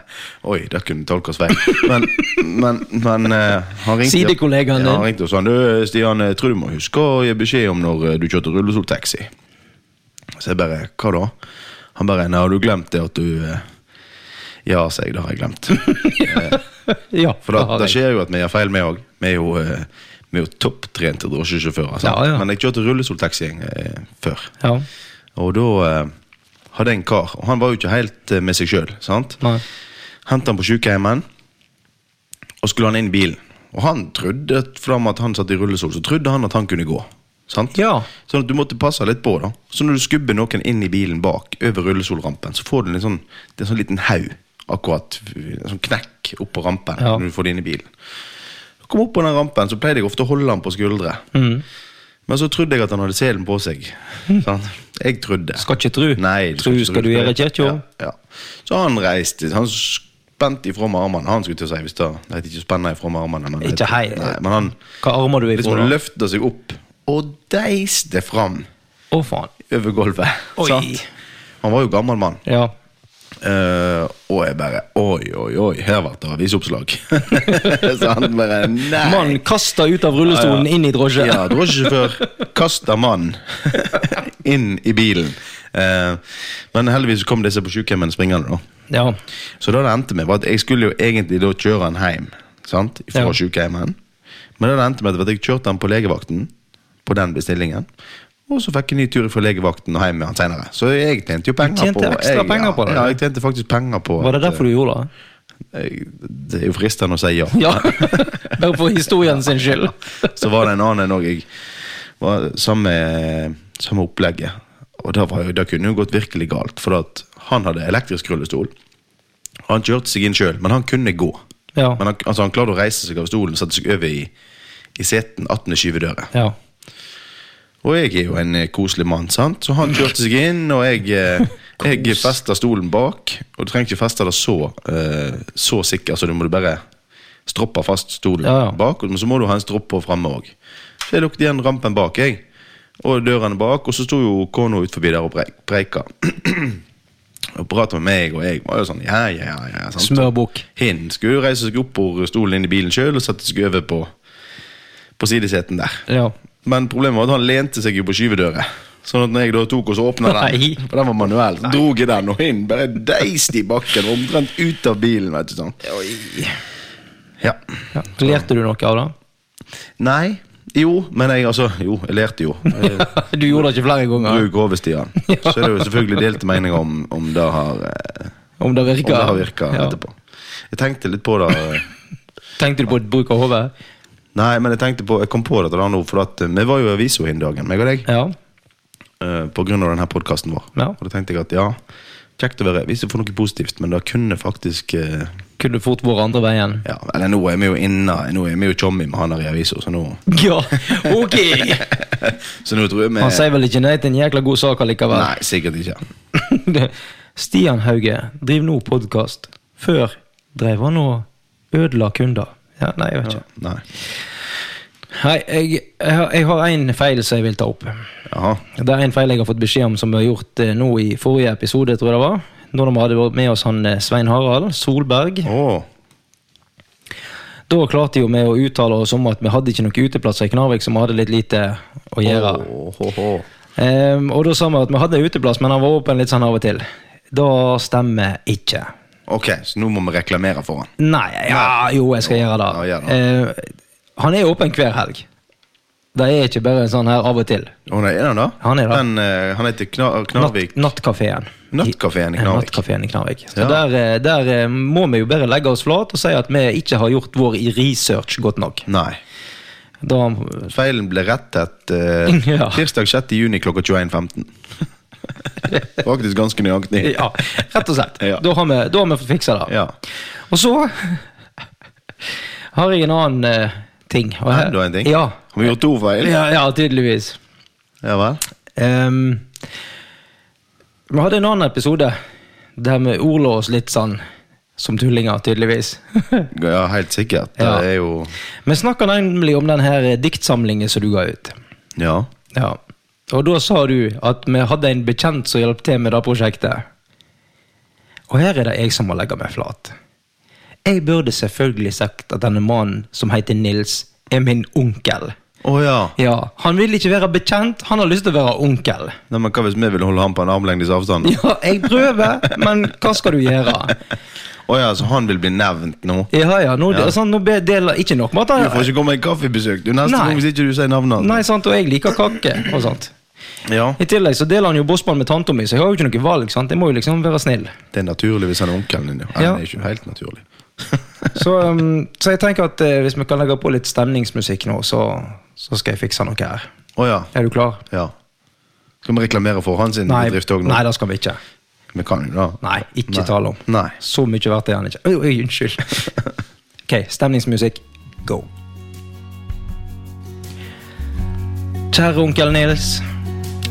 S2: Oi, det kunne tolke oss feil. Men, men, men eh, han ringte
S1: Sidekollegaen
S2: Ja,
S1: din.
S2: han ringte og sa Du, Stian, jeg tror du må huske å gi beskjed om når eh, du kjørte rullestoltaxi. Så jeg bare Hva da? Han bare Nei, har du glemt det at du eh, Ja, sa jeg. Det har jeg glemt.
S1: Ja,
S2: For da,
S1: har
S2: det
S1: jeg.
S2: skjer jo at vi gjør feil, vi òg. Vi er jo, eh, vi er jo topptrente drosjesjåfører. sant?
S1: Ja, ja.
S2: Men jeg kjørte rullestoltaxi eh, før.
S1: Ja.
S2: Og da eh, hadde jeg en kar, og han var jo ikke helt eh, med seg sjøl.
S1: Nei.
S2: Hentet han på sykehjemmen, og skulle han inn i bilen. Og han trodde, for at han satt i rullestol, så trodde han at han kunne gå. Sant?
S1: Ja.
S2: Sånn at du måtte passe litt på. da Så når du skubber noen inn i bilen bak, over rullestolrampen, så får du en, sånn, det er en sånn liten haug, akkurat, en sånn knekk oppå rampen
S1: Ja.
S2: når du får det inn i bilen. Så kom jeg opp på den rampen, så pleide jeg ofte å holde han på skuldre.
S1: Mm.
S2: Men så trodde jeg at han hadde selen på seg. Sant? Jeg trodde.
S1: Skal ikke tru.
S2: Nei,
S1: Tru
S2: ikke
S1: skal du gjøre, Kjetjo.
S2: Ja, ja. Så han reiste. Han spente ifra med armene. Han skulle til å si hvis det det heter ikke spenne ifra med armene. Men
S1: Ikke hei.
S2: Nei, men han
S1: Hva armer du ifra?
S2: liksom
S1: da?
S2: løfta seg opp og deiste fram
S1: Å, faen.
S2: over gulvet.
S1: Oi.
S2: Sant? Han var jo gammel mann.
S1: Ja.
S2: Eh, og jeg bare Oi, oi, oi, her ble det avisoppslag. så han bare Nei.
S1: Mannen kasta ut av rullestolen
S2: Ja, ja.
S1: inn i drosje.
S2: Ja, drosjesjåfør kaster mann inn i bilen. Eh, men heldigvis kom disse på sykehjemmet springende. da.
S1: Ja.
S2: Så da det endte med, var at jeg skulle jo egentlig da kjøre han hjem sant? fra
S1: Ja.
S2: sykehjemmet. Men da det endte med at jeg kjørte han på legevakten, på den bestillingen. Og så fikk jeg ny tur fra legevakten og hjem med han senere. Så jeg tjente jo penger
S1: tjente
S2: på
S1: ekstra
S2: jeg,
S1: penger på det,
S2: Ja,
S1: du.
S2: jeg tjente faktisk penger på
S1: Var det
S2: at,
S1: derfor du gjorde det?
S2: eh, jeg, Det er jo fristende å si ja.
S1: Ja. Bare for historien sin skyld.
S2: Så var det en annen òg. Jeg var samme, samme opplegget. Og da, var, jo- da kunne det jo gått virkelig galt, for at han hadde elektrisk rullestol. Og han kjørte seg inn sjøl, men han kunne gå.
S1: Ja.
S2: Men han, altså, han klarte å reise seg av stolen og sette seg over i, i seten 18. skyvedøra.
S1: Ja.
S2: Og jeg er jo en eh, koselig mann, sant? så han kjørte seg inn, og jeg, eh, jeg festa stolen bak. Og du trenger ikke feste det så, eh, så sikkert, så du må bare stroppe fast stolen
S1: Ja, ja.
S2: bak. Men så må du ha en stropp på framme òg. Så jeg lukket igjen rampen bak, jeg. Og dørene bak, og så sto jo kona ut forbi der og preik- preika. Og prata med meg, og jeg var jo sånn ja, ja, ja. ja sant?
S1: Smørbukk.
S2: Hen skulle jo reise seg opp og stolen inn i bilen sjøl og sette seg over på, på sideseten der.
S1: Ja.
S2: Men problemet var at han lente seg jo på skyvedøra. Sånn at når jeg da tok og så åpna
S1: Nei.
S2: den, for den var manuell, så drog jeg den og inn. Bare deiste i bakken, omtrent ut av bilen. vet du sånn. Ja.
S1: ja. Lærte du noe av det?
S2: Nei. Jo, men jeg altså Jo, jeg lærte jo. Eh,
S1: Du gjorde det ikke flere ganger?
S2: Bruk hodet, Stian. Så er det jo selvfølgelig delte meninger om, om det har, eh,
S1: Om det
S2: om det
S1: virker?
S2: har virka
S1: Ja.
S2: etterpå. Jeg tenkte litt på det. eh,
S1: Tenkte du på et bruk av hodet?
S2: Nei, men jeg tenkte på, jeg kom på dette da nå, for at eh, vi var jo i avisa den dagen, meg og deg,
S1: Ja.
S2: eh, på grunn av denne podkasten vår.
S1: Ja.
S2: Og da tenkte jeg at ja, kjekt å være i avisa for noe positivt, men det kunne faktisk eh,
S1: Kunne fort vært andre veien.
S2: ja, Eller nå er vi jo inne, nå er vi jo tjommi med han der i avisa, så nå
S1: Ja, ok!
S2: Så nå tror jeg vi
S1: Han sier vel ikke nei til en jækla god sak allikevel?
S2: Nei, sikkert ikke.
S1: Det- Stian Hauge driver nå podkast. Før drev han og ødela kunder. Ja, nei, jeg vet ikke.
S2: Nei.
S1: Hei, jeg, jeg har- jeg har én feil som jeg vil ta opp. Det
S2: Jaha.
S1: er en feil jeg har fått beskjed om som vi har gjort eh, nå i forrige episode, tror jeg det var. Når vi hadde vært med oss han eh, Svein Harald Solberg.
S2: Å.
S1: Da klarte jo vi å uttale oss om at vi hadde ikke noen uteplasser i Knarvik, så vi hadde litt lite å gjøre.
S2: Å, ho, ho.
S1: Ehm, og da sa vi at vi hadde uteplass, men han var åpen litt sånn av og til. Da stemmer ikke.
S2: Ok, så nå må vi reklamere for han.
S1: Nei, ja, jo, jeg skal gjøre det.
S2: Ja, gjør
S1: Ehm, han er åpen hver helg. Det er ikke bare sånn her av og til.
S2: Å nei, er han da?
S1: Han er det.
S2: Den, eh, han heter Kna Knarvik.
S1: Natt, nattkafeen.
S2: Nattkafeen i Knarvik.
S1: Nattkafeen i Knarvik. Så
S2: Ja.
S1: der, eh, der eh, må vi jo bare legge oss flat og si at vi ikke har gjort vår research godt nok.
S2: Nei.
S1: Da,
S2: Feilen ble rettet eh,
S1: Ja.
S2: tirsdag 6. juni klokka 21.15. Faktisk ganske nøyaktig.
S1: ja, rett og slett.
S2: Ja.
S1: Da, har vi, da har vi fått fiksa det.
S2: Ja.
S1: Og så har jeg en annen eh, ting. Og her-
S2: Enda en ting.
S1: Ja,
S2: Har vi gjort to feil?
S1: ja, ja tydeligvis.
S2: Ja vel.
S1: Ehm, vi hadde en annen episode der vi ordla oss litt sånn som tullinger, tydeligvis.
S2: Ja, helt sikkert.
S1: Ja.
S2: Det er jo
S1: vi snakka nemlig om den her eh, diktsamlingen som du ga ut.
S2: Ja.
S1: Ja. Og da sa du at vi hadde en bekjent som hjalp til med det prosjektet. Og her er det jeg som må legge meg flat. Jeg burde selvfølgelig sagt at denne mannen som heter Nils, er min onkel.
S2: Å ja.
S1: Ja, Han vil ikke være bekjent, han har lyst til å være onkel.
S2: Nei, men hva hvis vi vil holde han på en armlengdes avstand?
S1: Ja, jeg prøver, men hva skal du gjøre?
S2: Å ja, så han vil bli nevnt nå?
S1: Ja, ja, nå, det er Sånn, nå be- deler ikke nok med at
S2: Du
S1: han
S2: får ikke komme i kaffebesøk du, neste
S1: Nei.
S2: gang hvis ikke du sier navnet hans.
S1: Nei, sant, og jeg liker kake og sånt.
S2: Ja.
S1: I tillegg så deler han jo bossmann med tanta mi, så jeg har jo ikke noe valg. sant? Jeg må jo liksom være snill.
S2: Det er naturlig hvis han er onkelen din. Ja.
S1: Ja.
S2: Han er ikke helt naturlig.
S1: Så, um, så jeg tenker at eh, hvis vi kan legge på litt stemningsmusikk nå, så, så skal jeg fikse noe her.
S2: Å ja.
S1: Er du klar?
S2: ja. Skal vi reklamere for han sin
S1: Nei,
S2: bedrift òg nå?
S1: nei det skal vi ikke.
S2: Vi kan jo det.
S1: Nei, ikke
S2: Nei.
S1: tale om.
S2: Nei.
S1: Så mye verdt er han ikke. Oi, oi, unnskyld. ok, stemningsmusikk. Go. Kjære onkel Nils.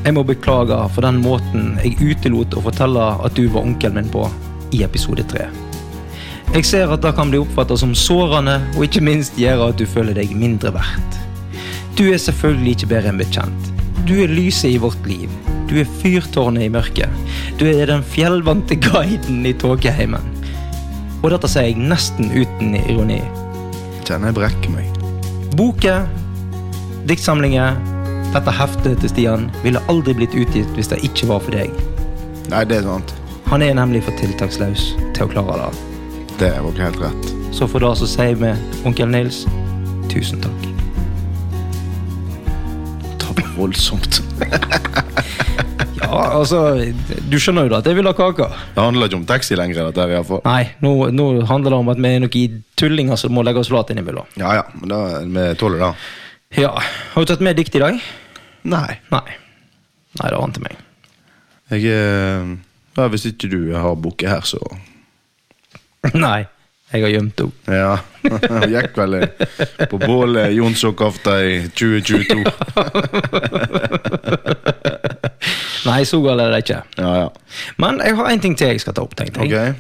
S1: Jeg må beklage for den måten jeg utelot å fortelle at du var onkelen min på i episode tre. Jeg ser at det kan bli oppfattet som sårende, og ikke minst gjøre at du føler deg mindre verdt. Du er selvfølgelig ikke bedre enn bekjent. Du er lyset i vårt liv. Du er fyrtårnet i mørket. Du er den fjellvante guiden i tåkeheimen. Og dette sier jeg nesten uten ironi.
S2: Kjenner jeg brekker meg.
S1: Boka, diktsamlinger, dette heftet til Stian ville aldri blitt utgitt hvis det ikke var for deg.
S2: Nei, det er sant.
S1: Han er nemlig for tiltakslaus til å klare det.
S2: Det var ikke helt rett.
S1: Så for det så sier vi, onkel Nils, tusen takk.
S2: Det var voldsomt.
S1: Ja, altså, du skjønner jo da at jeg vil ha kake.
S2: Det handler ikke om taxi lenger, dette her iallfall.
S1: Nei, nå, nå handler det om at vi er noen tullinger som må legge oss flat innimellom.
S2: Ja ja, men da, vi tåler det.
S1: Ja, har du tatt med dikt i dag?
S2: Nei.
S1: Nei. Nei, det ante meg.
S2: Jeg eh, ja, Hvis ikke du har bukket her, så
S1: Nei, jeg har gjemt henne.
S2: Ja. Gikk vel eh, på bålet Jonsokafta i 2022.
S1: Nei, så galt er det ikke.
S2: Ja ja.
S1: Men jeg har en ting til jeg skal ta opp, tenkte
S2: Ok.
S1: jeg.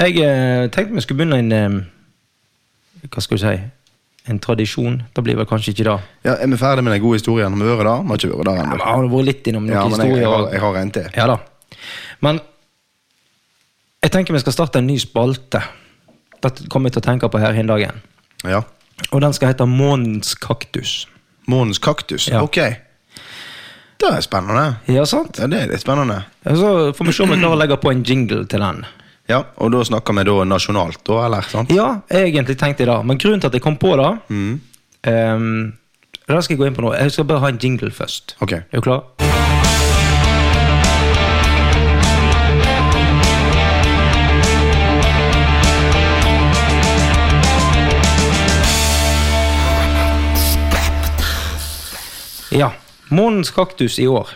S1: Jeg eh, tenkte vi skulle begynne en eh, Hva skal du si? En tradisjon. Det blir vel kanskje ikke det.
S2: Ja, er vi ferdig med den gode historien? Har vi vært der? Vi har ikke vært der
S1: Ja, men
S2: ennå.
S1: har du vært litt innom noen
S2: Ja, men jeg, jeg,
S1: historier?
S2: har, jeg har en til.
S1: Ja da. Men jeg tenker vi skal starte en ny spalte. Dette kommer jeg til å tenke på her en dag igjen.
S2: Ja.
S1: Og den skal hete Månens kaktus.
S2: Månens kaktus.
S1: Ja.
S2: Ok. Det er spennende.
S1: Ja, sant?
S2: Ja, det er litt spennende.
S1: Så får vi se om vi klarer å legge på en jingle til den.
S2: Ja, Og da snakker vi da nasjonalt, da, eller? sant?
S1: Ja, jeg egentlig tenkte jeg det, men grunnen til at jeg kom på det ehm, Det skal jeg gå inn på nå. Jeg skal bare ha en jingle først.
S2: Ok.
S1: Er du klar? Ja. Månens kaktus i år.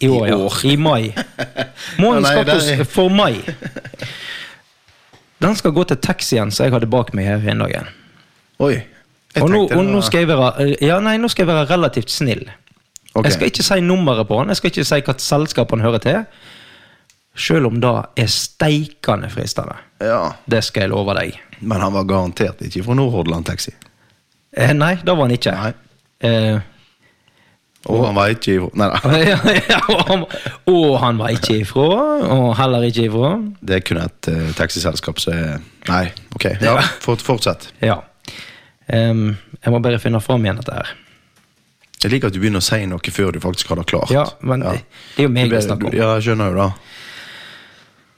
S1: I år,
S2: I
S1: ja.
S2: år.
S1: I mai. Månens
S2: Ja, nei,
S1: kaktus
S2: der er-
S1: for mai. Den skal gå til taxien som jeg hadde bak meg her en dag. igjen.
S2: Oi. Jeg
S1: Og, nå,
S2: tenkte det
S1: og nå,
S2: var-
S1: skal jeg være, ja, nei, nå skal jeg være relativt snill.
S2: Ok.
S1: Jeg skal ikke si nummeret på han, jeg skal ikke si hvilket selskap han hører til. Selv om det er steikende fristende.
S2: Ja,
S1: Det skal jeg love deg.
S2: Men han var garantert ikke fra Nordhordland Taxi.
S1: Eh, nei, det var han ikke.
S2: Nei.
S1: Eh,
S2: Og han var ikke i Nei da.
S1: ja, ja, og, han, og han var ikke ifra, og heller ikke ifra.
S2: Det er kun et eh, taxiselskap som er Nei, ok. Ja, fort, fortsett.
S1: Ja. Ehm, jeg må bare finne fram igjen dette her.
S2: Jeg liker at du begynner å si noe før du faktisk har det klart.
S1: Ja, men det- det er jo meg
S2: Du
S1: det
S2: ber-
S1: er snakk om.
S2: du- Ja, jeg skjønner jo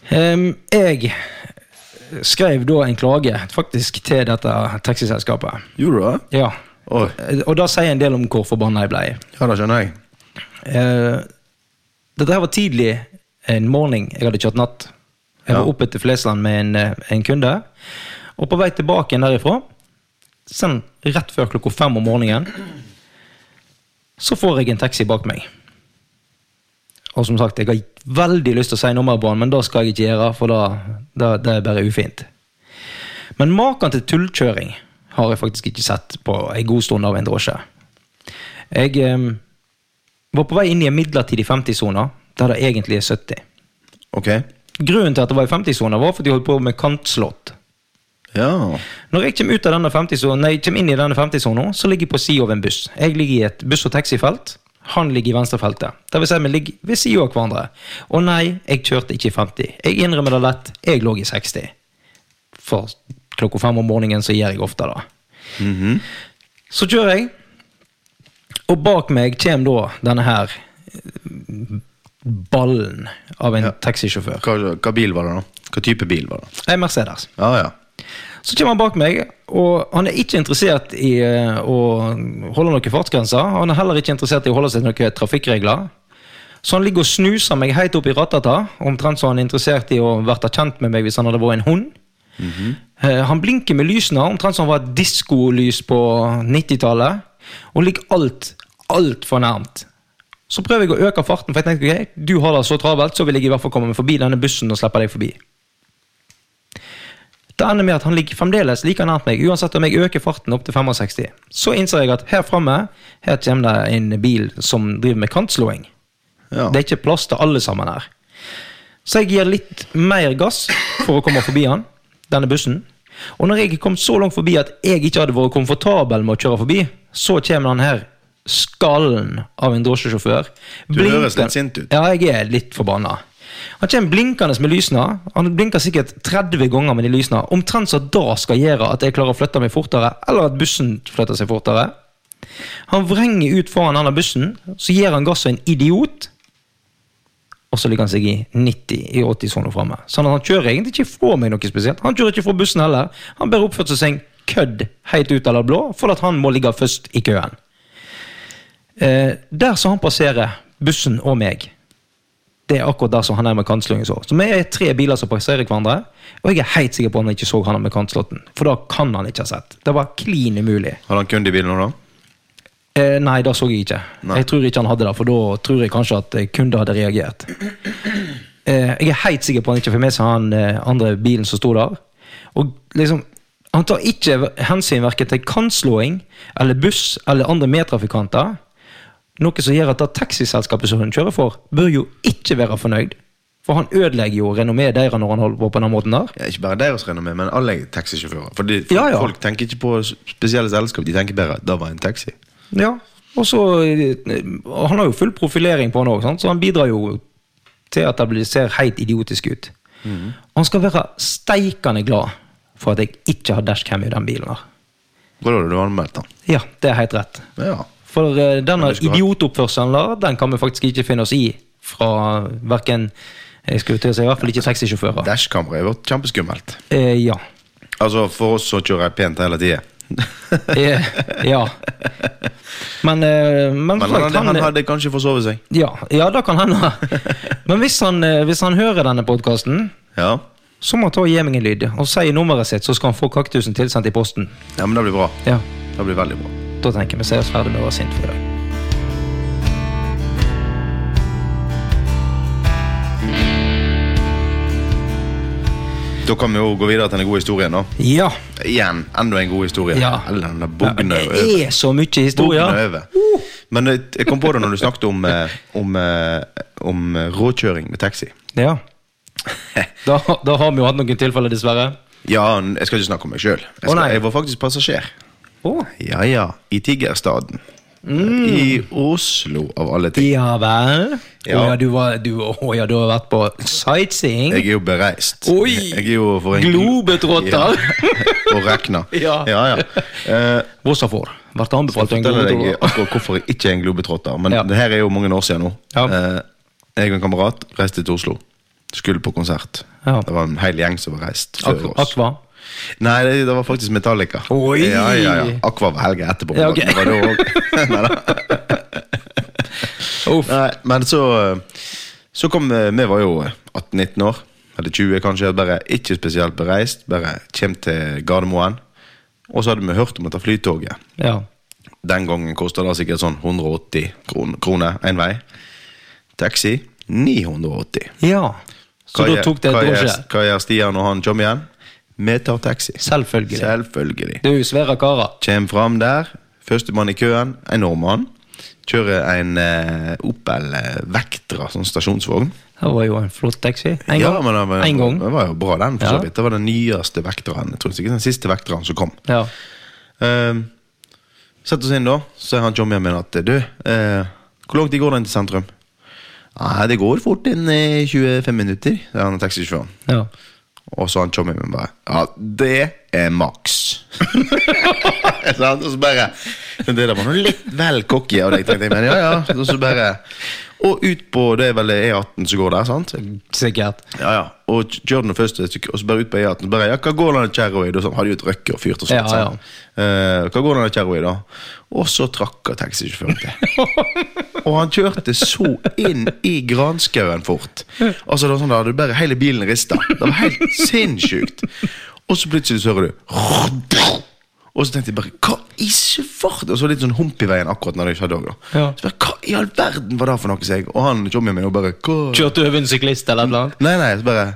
S2: det.
S1: Ehm, jeg skrev da en klage, faktisk, til dette taxiselskapet.
S2: Gjorde du det?
S1: Ja.
S2: Oi.
S1: Og da sier jeg en del om hvor forbanna jeg ble.
S2: Ja, det skjønner jeg.
S1: Eh, dette her var tidlig en morgen. Jeg hadde kjørt natt. Jeg var
S2: Ja.
S1: oppe til Flesland med en, eh, en kunde. Og på vei tilbake igjen derifra, sånn rett før klokka fem om morgenen, så får jeg en taxi bak meg. Og som sagt, jeg har veldig lyst til å si nummeret på han, men det skal jeg ikke gjøre, for da, da, det er bare ufint. Men maken til tullkjøring har jeg faktisk ikke sett på en god stund av en drosje. Jeg eh, var på vei inn i en midlertidig 50-sone, der det egentlig er 70.
S2: Ok.
S1: Grunnen til at det var i 50-sona, var fordi jeg holdt på med kantslått.
S2: Ja.
S1: Når jeg kommer, ut av denne 50-sonen- nei, kommer inn i denne 50-sona, så ligger jeg på sida av en buss. Jeg ligger i et buss- og taxifelt. Han ligger i venstrefeltet. Det vil si, vi ligger ved sida av hverandre. Og nei, jeg kjørte ikke i 50. Jeg innrømmer det lett, jeg lå i 60. For klokka fem om morgenen så gjør jeg ofte det.
S2: Mhm.
S1: Så kjører jeg, og bak meg kommer da denne her eh, ballen av en taxisjåfør.
S2: hva, hva bil var det, da? Hva type bil var det?
S1: En Mercedes.
S2: Ja, ja.
S1: Så kommer han bak meg, og han er ikke interessert i eh, å holde noen fartsgrenser. Han er heller ikke interessert i å holde seg til noen trafikkregler. Så han ligger og snuser meg helt opp i ratata, omtrent så han er interessert i å vært kjent med meg hvis han hadde vært en hund. Eh, Han blinker med lysene, omtrent som han var et diskolys på 90-tallet, og ligger alt, altfor nærmt. Så prøver jeg å øke farten, for jeg tenker ok, du har det så travelt, så vil jeg i hvert fall komme meg forbi denne bussen og slippe deg forbi. Det ender med at han ligger fremdeles like nært meg, uansett om jeg øker farten opp til 65. Så innser jeg at her framme her kommer det en bil som driver med kantslåing.
S2: ja.
S1: Det er ikke plass til alle sammen her. Så jeg gir litt mer gass for å komme forbi han, denne bussen. Og når jeg kom så langt forbi at jeg ikke hadde vært komfortabel med å kjøre forbi, så kommer han her, skallen av en drosjesjåfør.
S2: Du høres litt sint ut.
S1: Ja, jeg er litt forbanna. Han kommer blinkende med lysene. Han blinker sikkert 30 ganger med de lysene. Omtrent så da skal gjøre at jeg klarer å flytte meg fortere, eller at bussen flytter seg fortere. Han vrenger ut foran denne bussen, så gir han gass som en idiot. Og så ligger han seg i 90 i 80-sona framme. Sånn at han kjører egentlig ikke fra meg noe spesielt. Han kjører ikke fra bussen heller. Han bare oppførte seg en kødd helt ut av det blå, for at han må ligge først i køen. Eh, der som han passerer bussen og meg, det er akkurat der som han er med kantslåingen så. Så vi er tre biler som passerer hverandre, og jeg er helt sikker på at han ikke så han med kantslåtten. For da kan han ikke ha sett. Det var klin umulig.
S2: Har han kunde i bilen nå, da?
S1: Eh, nei, det så jeg ikke.
S2: Nei.
S1: Jeg tror ikke han hadde det, for da tror jeg kanskje at eh, kunder hadde reagert. Eh, jeg er helt sikker på at han ikke fikk med seg han eh, andre bilen som sto der. Og liksom, han tar ikke hensyn verken til kantslåing eller buss eller andre medtrafikanter. Noe som gjør at det taxiselskapet som hun kjører for, bør jo ikke være fornøyd. For han ødelegger jo renommeet deres når han holder på på den måten der.
S2: Ja, ikke bare deres renommé, men alle taxisjåfører. For de- for
S1: Ja, ja.
S2: Folk tenker ikke på s- spesielle selskap, de tenker bare at det var en taxi.
S1: Ja, og så eh, Han har jo full profilering på han òg, så han bidrar jo til at det blir- ser helt idiotisk ut.
S2: Mhm.
S1: Han skal være steikende glad for at jeg ikke har dashcam i den bilen. her.
S2: Hva var det du anmeldte?
S1: Ja, det er helt rett.
S2: Ja.
S1: For eh, denne
S2: du skulle ha-
S1: idiotoppførselen der, den kan vi faktisk ikke finne oss i fra verken Jeg skulle til å si i hvert fall ikke taxisjåfører.
S2: Dashkamera har vært kjempeskummelt.
S1: Eh, ja.
S2: Altså, for oss som kjører pent hele tida.
S1: Eh, ja. Men, eh, men,
S2: Men han, han, hadde kanskje forsovet seg.
S1: Ja, ja det kan hende. Men hvis han, eh, hvis han hører denne podkasten,
S2: Ja.
S1: så må han ta og gi meg en lyd og si nummeret sitt, så skal han få kaktusen tilsendt i posten.
S2: ja, men det blir bra.
S1: Ja,
S2: Det blir veldig bra.
S1: Da tenker jeg vi ser oss ferdig med å være sint for i dag.
S2: Da kan vi jo gå videre til den gode historien, da.
S1: Ja.
S2: Igjen, enda en god historie.
S1: Ja.
S2: Eller den der bugner over.
S1: Det er så mye
S2: Bugner
S1: historier.
S2: over. Men jeg jeg kom på det når du snakket om, eh, om, eh, om eh, råkjøring med taxi.
S1: Ja. Da, da har vi jo hatt noen tilfeller, dessverre.
S2: Ja, n- jeg skal ikke snakke om meg sjøl. Jeg,
S1: Å,
S2: skal-
S1: nei.
S2: jeg var faktisk passasjer.
S1: Å,
S2: Ja ja, i Tigerstaden.
S1: Mm.
S2: I Oslo, av alle ting.
S1: Ja vel? Å
S2: Ja.
S1: ja, du, var, du, å ja, du har vært på sightseeing?
S2: Jeg er jo bereist.
S1: Oi!
S2: Jeg er jo for en
S1: Globetrotter!
S2: Ja. Og regna.
S1: Ja.
S2: ja, ja. Eh,
S1: Hvorfor? Ble det anbefalt en
S2: forteller deg
S1: globetrotter?
S2: akkurat hvorfor jeg ikke er en globetrotter, men
S1: Ja.
S2: det her er jo mange år siden nå.
S1: Ja.
S2: Eh, jeg og en kamerat reiste til Oslo. Skulle på konsert.
S1: Ja.
S2: Det var en hel gjeng som var reist før
S1: Ak-
S2: oss.
S1: Aqua?
S2: Nei, det, det var faktisk Metallica.
S1: Oi!
S2: Ja, ja, ja. Aqua var helga etterpå.
S1: Ja, ok.
S2: Det var det også. Nei, da.
S1: Uff.
S2: Nei, men så Så kom eh, Vi var jo 18-19 år Eller 20 kanskje Bare ikke spesielt bereist Bare kjem til Gardermoen Og så hadde vi hørt om dette flytoget
S1: Ja.
S2: Den gangen kostet det sikkert sånn 180 kron- kroner En vei Taxi 980
S1: ja. Så
S2: Hva
S1: da
S2: gjør-
S1: tok det
S2: hva
S1: et
S2: gjør-
S1: drosje?
S2: Hva gjør Stian når han kommer igjen? Vi tar taxi
S1: Selvfølgelig.
S2: Selvfølgelig
S1: Det er jo svære karer.
S2: Kjem fram der. Førstemann i køen, en nordmann. Kjører en eh, Opel eh, Vectra som stasjonsvogn.
S1: Det var jo en flott taxi. En
S2: Ja,
S1: gang.
S2: men den var,
S1: en gang.
S2: Den var jo bra, den. for
S1: Ja.
S2: så vidt. Det var den nyeste Vectraen. Jeg tror sikkert den siste Vectraen som kom.
S1: Ja.
S2: Uh, Sett oss inn, da. Så er han Jommien min at Du, eh, hvor langt går den til sentrum? Nei, det går fort inn i 25 minutter. Det er han taxisjåføren.
S1: ja.
S2: Og så han Tommy min bare Ja, det er maks. Sant? og så bare men Det der var noe litt vel cocky av deg, tenkte jeg. Men ja, ja. Og så bare Og ut på Det er vel E18 som går der, sant?
S1: Sikkert.
S2: Ja, ja. Og k- kjør den første, og så bare ut på E18. Bare, ja, hva går den kjerra i? Da sånn, hadde jo et røkke og fyrt og sånt.
S1: Ja, ja.
S2: sant? Eh, hva går den kjerra i, da? Og så trakk taxisjåføren til. og han kjørte så inn i granskauen fort. Altså, det var sånn, da hadde bare hele bilen rista. Det var helt sinnssykt. Og så plutselig så hører du og så tenkte jeg bare Hva i svarte? Og så litt sånn hump i veien akkurat når det skjedde òg.
S1: Ja.
S2: Hva i all verden var det for noe? seg? Og han jommien min og bare Hva
S1: Kjørte over en syklist eller noe annet?
S2: Nei, nei, så bare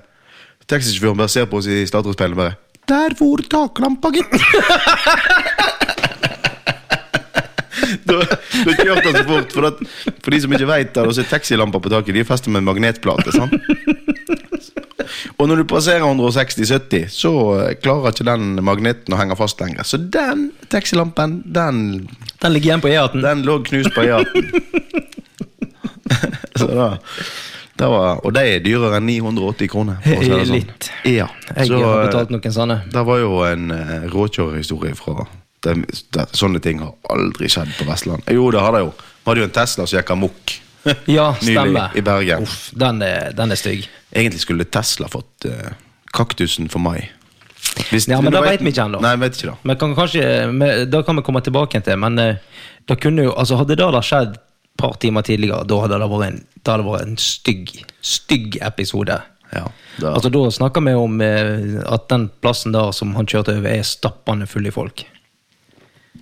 S2: Taxisjåføren bare ser på oss i starterspeilet og bare Der for taklampa, gitt! da, da kjørte han så fort. For, at, for de som ikke veit det, så er taxilamper på taket De er festet med en magnetplate. sant? Og når du passerer 160-70, så eh, klarer ikke den magneten å henge fast lenger. Så den taxilampen, den
S1: Den ligger igjen på E18.
S2: den lå knust på E18. Så da, da var, og de er dyrere enn 980 kroner. for å si det sånn.
S1: Litt.
S2: Ja.
S1: Jeg
S2: Så
S1: har betalt noen sånne.
S2: eh, det var jo en eh, råkjørerhistorie fra det, det, Sånne ting har aldri skjedd på Vestland. Jo, det har det jo. Vi hadde jo en Tesla som gikk amok
S1: Ja,
S2: nylig
S1: Ah, stemmer.
S2: i Bergen.
S1: Uff, den er, den er stygg.
S2: Egentlig skulle Tesla fått eh, kaktusen for mai. Hvis-
S1: Ja, men
S2: du
S1: det vet vi ikke ennå.
S2: Nei, vet ikke det.
S1: Men kan kanskje, men Da kan vi komme tilbake til, men eh, da kunne jo, altså hadde det da skjedd et par timer tidligere, da hadde det vært en, da hadde det vært en stygg, stygg episode.
S2: Ja, da-
S1: Altså Da snakker vi om eh, at den plassen der som han kjørte over, er stappende full i folk.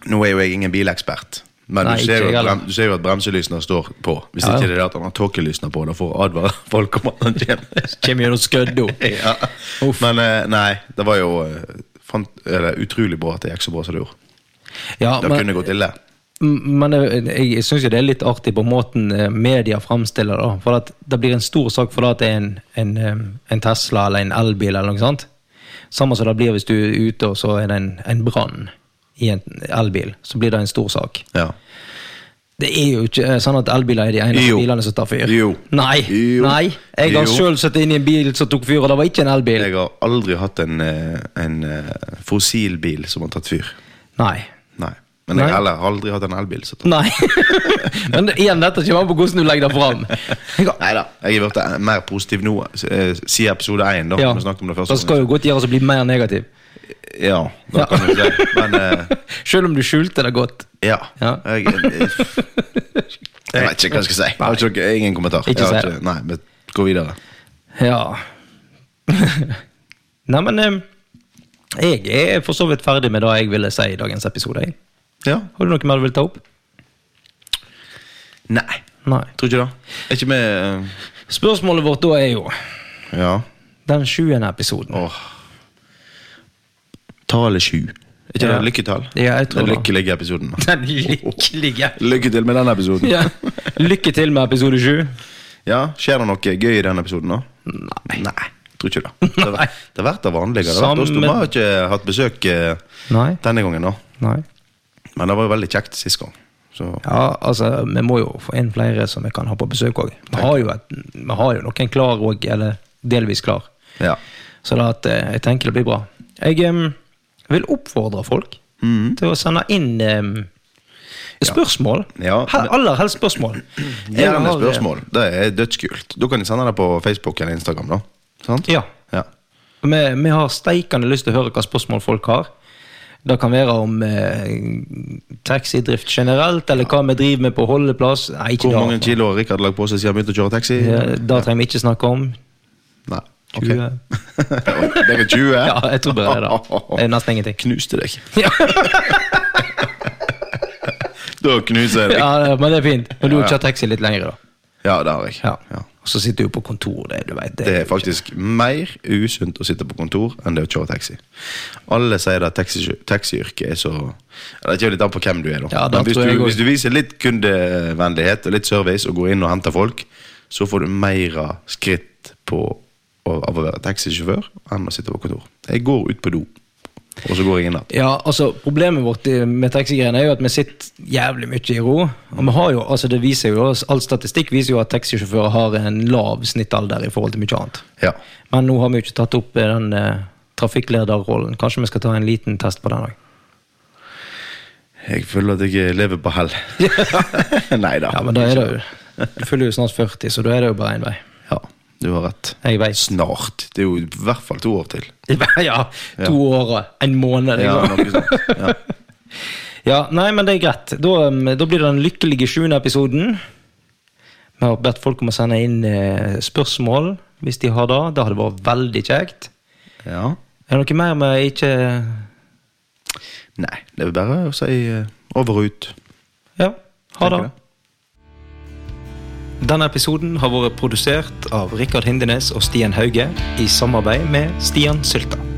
S2: Nå er jo jeg ingen bilekspert, men
S1: Nei,
S2: du, ser
S1: ikke
S2: jo
S1: jeg
S2: at
S1: heller.
S2: brem, du ser jo at bremselysene står på. Hvis
S1: Ja, ja.
S2: ikke det er det at han har tåkelysene på, da får advare folk om at han kommer.
S1: Kjem gjennom skødda.
S2: ja. Men eh, nei, det var jo eh, fant, eller, utrolig bra at det gikk så bra som det gjorde.
S1: Ja,
S2: Det
S1: men,
S2: kunne gått ille.
S1: m- men jeg, jeg syns jo det er litt artig på måten eh, media fremstiller det. da. For at det blir en stor sak for det at det er en, en, eh, en Tesla eller en elbil eller noe sånt. Samme som det blir hvis du er ute og så er det en, en brann i en elbil. Så blir det en stor sak.
S2: Ja.
S1: Det er jo ikke eh, sånn at elbiler er de eneste
S2: Jo.
S1: bilene som tar fyr.
S2: Jo.
S1: Nei.
S2: Jo.
S1: Nei. Jeg har
S2: Jo.
S1: sjøl sittet inn i en bil som tok fyr, og det var ikke en elbil.
S2: Jeg har aldri hatt en, eh, en eh, fossilbil som har tatt fyr.
S1: Nei.
S2: Nei. Men jeg
S1: Nei.
S2: har heller aldri hatt en elbil. som har tatt
S1: Nei. Men det- igjen, dette kommer an på hvordan du legger det fram. Jeg har
S2: Neida, Jeg har blitt mer positiv nå, s- eh, siden episode én. Da
S1: Ja.
S2: når vi snakket om det første.
S1: Det skal jo godt gjøres å bli mer negativ.
S2: Ja, da
S1: Ja.
S2: kan du si. Men eh,
S1: Selv om du skjulte det godt.
S2: Ja.
S1: Ja.
S2: Jeg, jeg, jeg, vet ikke hva jeg skal si. Jeg har ikke, noe- ingen kommentar.
S1: Ikke
S2: Jeg har
S1: si det.
S2: ikke- Nei, men gå videre.
S1: Ja. Nei, men eh, jeg er for så vidt ferdig med det jeg ville si i dagens episode. Jeg.
S2: Ja.
S1: Har du noe mer du vil ta opp?
S2: Nei.
S1: Nei.
S2: Tror ikke det. Er ikke med
S1: Spørsmålet vårt da er jo
S2: eh, Ja.
S1: den sjuende episoden.
S2: Åh. Tallet sju. Er ikke
S1: Ja.
S2: det lykketall?
S1: Ja, jeg tror
S2: Den
S1: det.
S2: lykkelige episoden.
S1: Den lykkelige.
S2: Lykke til med den episoden. Ja.
S1: Ja. Lykke til med episode sju.
S2: Skjer det noe gøy i den episoden nå? Nei. Tror ikke det. Det har,
S1: Nei.
S2: det har vært det vanlige. Det har
S1: Sammen-
S2: vært oss to. Vi har ikke hatt besøk eh,
S1: Nei.
S2: denne gangen, nå.
S1: Nei.
S2: Men det var jo veldig kjekt sist gang. Så
S1: Ja, altså, vi må jo få inn flere som vi kan ha på besøk òg. Vi, har jo et- vi har jo noen klar òg, eller delvis klar.
S2: ja.
S1: Så da at, eh, jeg tenker det blir bra. Jeg em, vil oppfordre folk
S2: Mhm.
S1: til å sende inn em, spørsmål.
S2: Ja,
S1: Hel- aller helst spørsmål. Jeg
S2: Gjerne
S1: har, eh,
S2: spørsmål. Det er dødskult. Da kan de sende det på Facebook eller Instagram, da. Sant?
S1: Ja.
S2: Ja.
S1: Vi, vi har steikende lyst til å høre hva spørsmål folk har. Det kan være om eh, taxidrift generelt, eller hva vi driver med på holdeplass. Nei, ikke
S2: Hvor mange
S1: det.
S2: kilo har Rikard lagt på seg siden han begynte å kjøre taxi?
S1: Eh, Det trenger vi ikke snakke om.
S2: Nei. ok.
S1: 20.
S2: det er 20?
S1: Ja, jeg tror bare det. da. Det er nesten ingenting.
S2: Knuste deg.
S1: Ja,
S2: Da knuser jeg deg.
S1: ja, men det er fint. Men du
S2: Ja,
S1: har
S2: ja.
S1: kjørt taxi litt lenger, da.
S2: Ja, det har jeg.
S1: Ja.
S2: Ja.
S1: Og så sitter du på kontor, det, du vet.
S2: Det er faktisk mer usunt å sitte på kontor enn det å kjøre taxi. Alle sier at taxi, taxiyrket er så Ja, Det kommer litt an på hvem du er, da.
S1: Ja, det
S2: Men hvis,
S1: tror jeg
S2: du,
S1: også.
S2: hvis du viser litt kundevennlighet og litt service og går inn og henter folk, så får du mer skritt på, av av å være taxisjåfør enn å sitte på kontor. Jeg går ut på do, og så går jeg inn igjen.
S1: Ja, altså Problemet vårt i- med taxigreiene er jo at vi sitter jævlig mye i ro. Og vi har jo, altså det viser jo, All statistikk viser jo at taxisjåfører har en lav snittalder i forhold til mye annet.
S2: Ja.
S1: Men nå har vi jo ikke tatt opp eh, den eh, trafikklederrollen. Kanskje vi skal ta en liten test på den òg.
S2: Jeg føler at jeg lever på hell. Nei da.
S1: Ja, men da er det jo Du fyller jo snart 40, så da er det jo bare én vei.
S2: Ja, du har rett.
S1: Jeg veit.
S2: Snart. Det er jo i hvert fall to år til.
S1: Ja, to år og en måned.
S2: Ja,
S1: Liksom.
S2: noe sånt. Ja.
S1: Ja, nei, men det er greit. Da, um, da blir det den lykkelige sjuende episoden. Vi har bedt folk om å sende inn eh, spørsmål hvis de har det. Det hadde vært veldig kjekt.
S2: Ja.
S1: Er det noe mer vi ikke
S2: Nei, det er bare å si eh, over og ut.
S1: Ja, ha det.
S2: Tenker det.
S1: Denne episoden har vært produsert av Rikard Hindenes og Stian Hauge i samarbeid med Stian Sylta.